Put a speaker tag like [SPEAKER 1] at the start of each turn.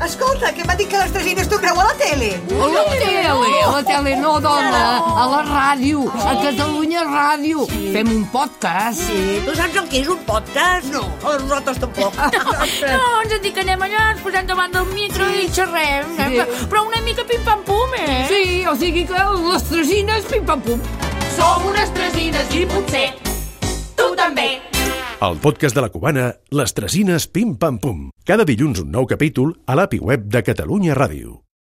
[SPEAKER 1] Escolta, que m'ha dit que les Tresines toqueu a la tele.
[SPEAKER 2] A la tele, a la tele, no, dona, a la ràdio, a Catalunya Ràdio. Fem un podcast.
[SPEAKER 3] Sí, tu saps el que és un podcast? No, a nosaltres tampoc.
[SPEAKER 4] No, ens en dic que anem allà, ens posem davant del micro i xerrem. eh?
[SPEAKER 2] Sí.
[SPEAKER 4] Però- Però una mica pim-pam-pum, eh?
[SPEAKER 2] Sí, o sigui que les tresines, pim-pam-pum.
[SPEAKER 5] Som unes tresines i potser tu també.
[SPEAKER 6] El podcast de la Cubana, les tresines pim-pam-pum. Cada dilluns un nou capítol a l'API web de Catalunya Ràdio.